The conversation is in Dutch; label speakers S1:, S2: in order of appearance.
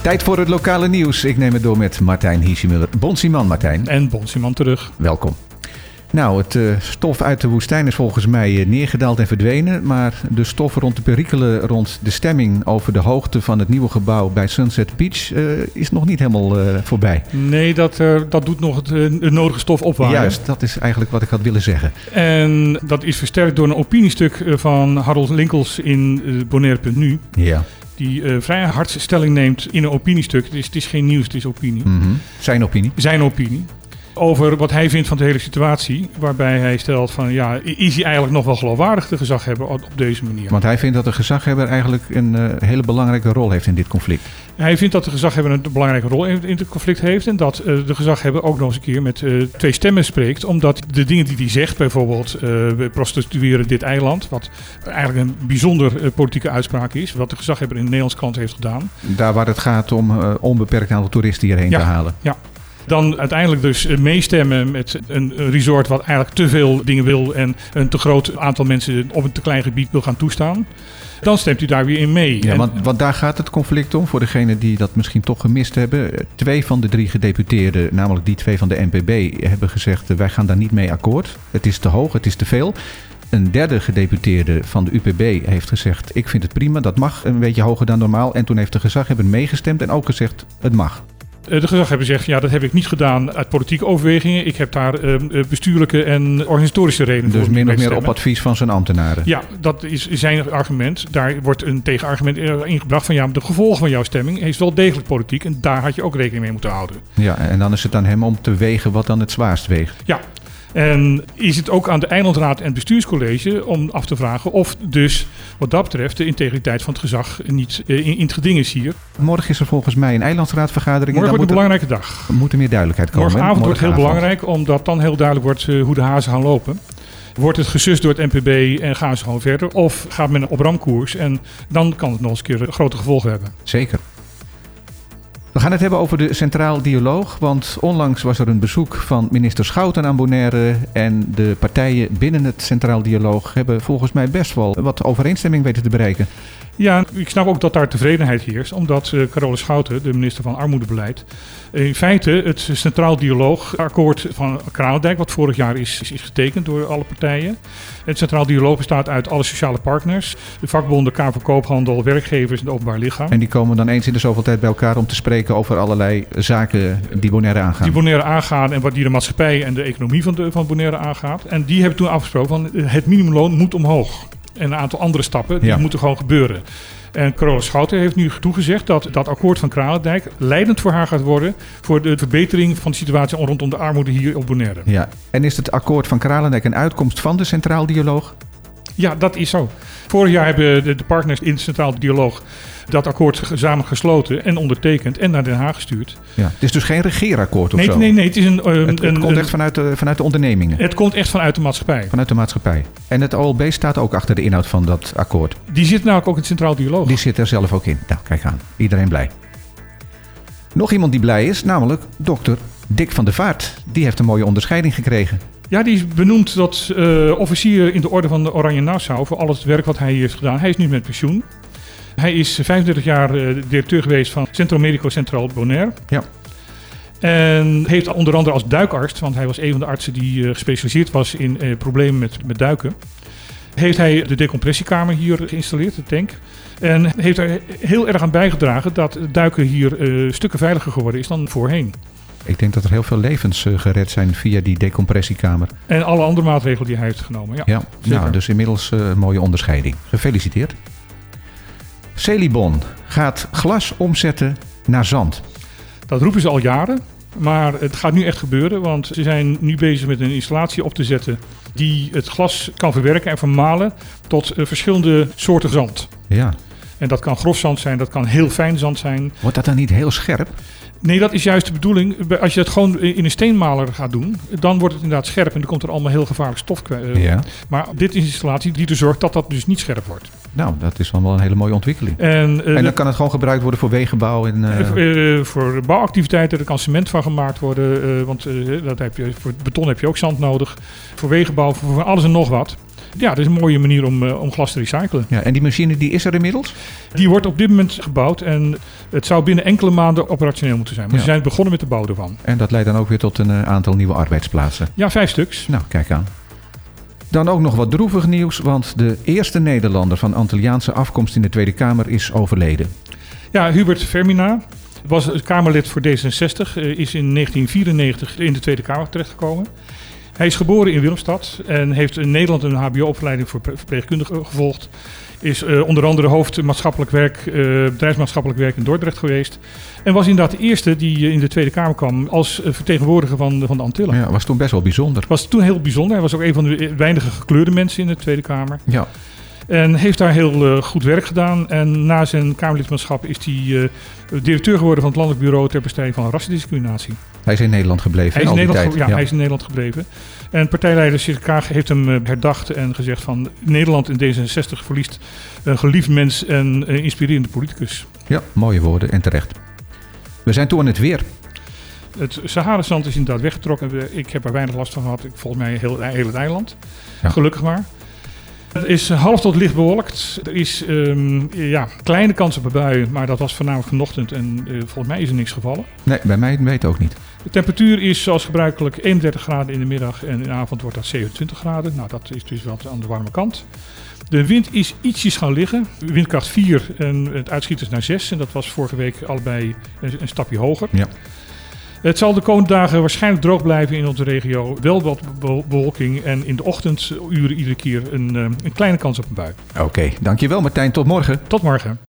S1: Tijd voor het lokale nieuws. Ik neem het door met Martijn Hiesjemuller. Bonsiman Martijn,
S2: En Bonsiman terug.
S1: welkom. Nou, het eh, stof uit de woestijn is volgens mij eh, neergedaald en verdwenen. Maar de stof rond de perikelen, rond de stemming over de hoogte van het nieuwe gebouw bij Sunset Beach, eh, is nog niet helemaal eh, voorbij.
S2: Nee, dat, eh, dat doet nog het, eh, de nodige stof opwaaien.
S1: Juist, dat is eigenlijk wat ik had willen zeggen.
S2: En dat is versterkt door een opiniestuk eh, van Harold Linkels in eh, Bonaire.nu.
S1: Ja.
S2: Die eh, vrij hard stelling neemt in een opiniestuk. Het is, het is geen nieuws, het is opinie.
S1: Mhm. Zijn opinie.
S2: Zijn opinie. Over wat hij vindt van de hele situatie. Waarbij hij stelt van ja, is hij eigenlijk nog wel geloofwaardig te gezag hebben op op deze manier?
S1: Want hij vindt dat de gezaghebber eigenlijk een eh, hele belangrijke rol heeft in dit conflict.
S2: Hij vindt dat de gezaghebber een belangrijke rol in in het conflict heeft. En dat eh, de gezaghebber ook nog eens een keer met eh, twee stemmen spreekt. Omdat de dingen die hij zegt, bijvoorbeeld eh, we prostitueren dit eiland. Wat eigenlijk een bijzonder eh, politieke uitspraak is. Wat de gezaghebber in de Nederlandse krant heeft gedaan.
S1: Daar waar het gaat om eh, onbeperkt aantal toeristen hierheen
S2: Ja.
S1: te halen.
S2: Dan uiteindelijk dus eh, meestemmen met een een resort wat eigenlijk te veel dingen wil. En een te groot aantal mensen op een te klein gebied wil gaan toestaan. Dan stemt u daar weer in mee.
S1: Ja,
S2: En-
S1: want, want daar gaat het conflict om. Voor degenen die dat misschien toch gemist hebben. eh, Twee van de drie gedeputeerden, namelijk die twee van de NPB, hebben gezegd: eh, wij gaan daar niet mee akkoord. Het is te hoog, het is te veel. Een derde gedeputeerde van de UPB heeft gezegd: ik vind het prima, dat mag een beetje hoger dan normaal. En toen heeft de gezaghebber meegestemd en ook gezegd: het mag.
S2: Eh, De gezaghebber zegt, ja, dat heb ik niet gedaan uit politieke overwegingen. Ik heb daar ehm, eh, bestuurlijke en organisatorische redenen
S1: Dus
S2: voor.
S1: min
S2: om
S1: of
S2: mee te
S1: meer op
S2: stemmen.
S1: advies van zijn ambtenaren.
S2: Ja, dat is zijn argument. Daar wordt een tegenargument eh, ingebracht van... ja, maar de gevolgen van jouw stemming is wel degelijk politiek... en daar had je ook rekening mee moeten houden.
S1: Ja, en dan is het aan hem om te wegen wat dan het zwaarst weegt.
S2: En is het ook aan de eilandraad en het bestuurscollege om af te vragen... of dus wat dat betreft de integriteit van het gezag niet eh, in, in het geding is hier.
S1: Morgen is er volgens mij een eilandsraadvergadering.
S2: Morgen wordt een
S1: en dan
S2: belangrijke dag.
S1: moet, er, moet er meer duidelijkheid komen. hè?
S2: Morgenavond wordt heel
S1: Morgenavond.
S2: belangrijk, omdat dan heel duidelijk wordt eh, hoe de hazen gaan lopen. Wordt het gesust door het NPB en gaan ze gewoon verder? Of gaat men op ramkoers en dan kan het nog eens een keer eh, grote gevolgen hebben.
S1: Zeker. We gaan het hebben over de Centraal Dialoog. Want onlangs was er een bezoek van minister Schouten aan Bonaire. En de partijen binnen het Centraal Dialoog hebben volgens mij best wel wat overeenstemming weten te bereiken.
S2: Ja, ik snap ook dat daar tevredenheid heerst, omdat eh Carole Schouten, de minister van Armoedebeleid, in feite het Centraal Dialootakkoord van Kranendijk, wat vorig jaar is, is, is getekend door alle partijen. Het Centraal Dialoog bestaat uit alle sociale partners, de vakbonden, KV Koophandel, werkgevers en het openbaar lichaam.
S1: En die komen dan eens in de zoveel tijd bij elkaar om te spreken over allerlei zaken die Bonaire aangaan.
S2: die Bonaire aangaan en wat die de maatschappij en de economie van, de, van Bonaire aangaat. En die hebben toen afgesproken van eh, het minimumloon moet omhoog. En een aantal andere stappen, die
S1: Ja.
S2: moeten gewoon gebeuren. En Carola Schouten heeft nu toegezegd dat dat akkoord van Kralendijk leidend voor haar gaat worden voor de verbetering van de situatie rondom de armoede hier op Bonaire.
S1: Ja. En is het akkoord van Kralendijk een uitkomst van de Centraal Dialoog?
S2: Ja, dat is zo. Vorig jaar hebben de- de partners in het Centraal Dialoog dat akkoord samen gesloten en ondertekend en naar Den Haag gestuurd.
S1: Ja. Het is dus geen regeerakkoord of
S2: Nee,
S1: zo?
S2: nee, nee, het is een... eh,
S1: Het, het
S2: een- Eh.
S1: komt
S2: een-
S1: echt vanuit de, vanuit de ondernemingen,
S2: het komt echt vanuit de maatschappij.
S1: vanuit de maatschappij. En het OLB staat ook achter de inhoud van dat akkoord.
S2: Die zit namelijk ook in het Centraal Dialoog.
S1: Die zit er zelf ook in. Nou, kijk aan. Iedereen blij. Nog iemand die blij is, namelijk dokter Dick van der Vaart. Die heeft een mooie onderscheiding gekregen.
S2: Ja, die is benoemd tot eh, officier in de orde van de Oranje Nassau voor al het werk wat hij hier heeft gedaan. Hij is nu met pensioen. Hij is 35 jaar eh, directeur geweest van Centro Medico Centraal Bonaire.
S1: Ja.
S2: En heeft onder andere als duikarts, want hij was een van de artsen die eh, gespecialiseerd was in eh, problemen met, met duiken, heeft hij de decompressiekamer hier geïnstalleerd, de tank. En heeft er heel erg aan bijgedragen dat duiken hier eh, stukken veiliger geworden is dan voorheen.
S1: Ik denk dat er heel veel levens eh, gered zijn via die decompressiekamer.
S2: En alle andere maatregelen die hij heeft genomen. Ja.
S1: Ja,
S2: zeker.
S1: nou, dus inmiddels eh, een mooie onderscheiding. Gefeliciteerd. Celibon gaat glas omzetten naar zand.
S2: Dat roepen ze al jaren. Maar het gaat nu echt gebeuren, want ze zijn nu bezig met een installatie op te zetten die het glas kan verwerken en vermalen tot eh, verschillende soorten zand.
S1: Ja.
S2: En dat kan grof zand zijn, dat kan heel fijn zand zijn.
S1: Wordt dat dan niet heel scherp?
S2: Nee, dat is juist de bedoeling. Bij- Als je dat gewoon in een steenmaler gaat doen, dan wordt het inderdaad scherp en dan komt er allemaal heel gevaarlijk stof. kwe- eh,
S1: Ja.
S2: Maar dit is een installatie die er zorgt dat dat dus niet scherp wordt.
S1: Nou, dat is dan wel een hele mooie ontwikkeling.
S2: En, eh,
S1: En dan
S2: dat-
S1: kan het gewoon gebruikt worden voor wegenbouw. En, eh,
S2: Eh, voor bouwactiviteiten, er kan cement van gemaakt worden. eh, want eh, dat heb je, voor beton heb je ook zand nodig. Voor wegenbouw, voor, voor alles en nog wat. Ja, dat is een mooie manier om, eh, om glas te recyclen.
S1: Ja, en die machine die is er inmiddels?
S2: Die wordt op dit moment gebouwd en het zou binnen enkele maanden operationeel moeten zijn. Maar
S1: Ja.
S2: ze zijn begonnen met de bouw ervan.
S1: En dat leidt dan ook weer tot een eh, aantal nieuwe arbeidsplaatsen.
S2: Ja, vijf stuks.
S1: Nou, kijk aan. Dan ook nog wat droevig nieuws, want de eerste Nederlander van Antilliaanse afkomst in de Tweede Kamer is overleden.
S2: Ja, Hubert Vermina was Kamerlid voor D66, eh, is in 1994 in de Tweede Kamer terechtgekomen. Hij is geboren in Willemstad en heeft in Nederland een HBO-opleiding voor pre- verpleegkundigen gevolgd. Is eh, onder andere hoofd maatschappelijk werk, eh, bedrijfsmaatschappelijk werk in Dordrecht geweest. En was inderdaad de eerste die eh, in de Tweede Kamer kwam als eh, vertegenwoordiger van, de- van de Antillen.
S1: Ja, was toen best wel bijzonder.
S2: Was toen heel bijzonder. Hij was ook een van de eh, weinige gekleurde mensen in de Tweede Kamer.
S1: Ja,
S2: En heeft daar heel eh, goed werk gedaan. En na zijn Kamerlidmaatschap is hij eh, directeur geworden van het Landelijk Bureau ter bestrijding van rassendiscriminatie.
S1: hij is in Nederland gebleven.
S2: Hij is, in
S1: al die
S2: Nederland, ge-
S1: tijd.
S2: ja, hij is in Nederland gebleven. En partijleider Sir Kaag heeft hem eh, herdacht en gezegd van Nederland in D66 verliest een geliefd mens en eh, inspirerende politicus.
S1: Ja, mooie woorden en terecht. We zijn toe aan het weer.
S2: Het Sahara-zand is inderdaad weggetrokken. We- Ik heb er weinig last van gehad. Ik- Volgens mij heel, heel het eiland.
S1: Ja.
S2: Gelukkig maar. Het is eh, half tot licht bewolkt. Er is ehm, ja, kleine kans op een bui, maar dat was voornamelijk vanochtend. En eh, volgens mij is er niks gevallen.
S1: Nee, bij mij weet ook niet.
S2: De temperatuur is zoals gebruikelijk 31 graden in de middag en in de avond wordt dat 27 graden. Nou, dat is dus wat aan de warme kant. De wind is ietsjes gaan liggen. Windkracht 4 en het uitschiet is naar 6. En dat was vorige week allebei een, een stapje hoger.
S1: Ja.
S2: Het zal de komende dagen waarschijnlijk droog blijven in onze regio. Wel wat be- bewolking en in de ochtenduren iedere keer een, eh, een kleine kans op een bui.
S1: Oké, dankjewel Martijn. Tot morgen.
S2: Tot morgen.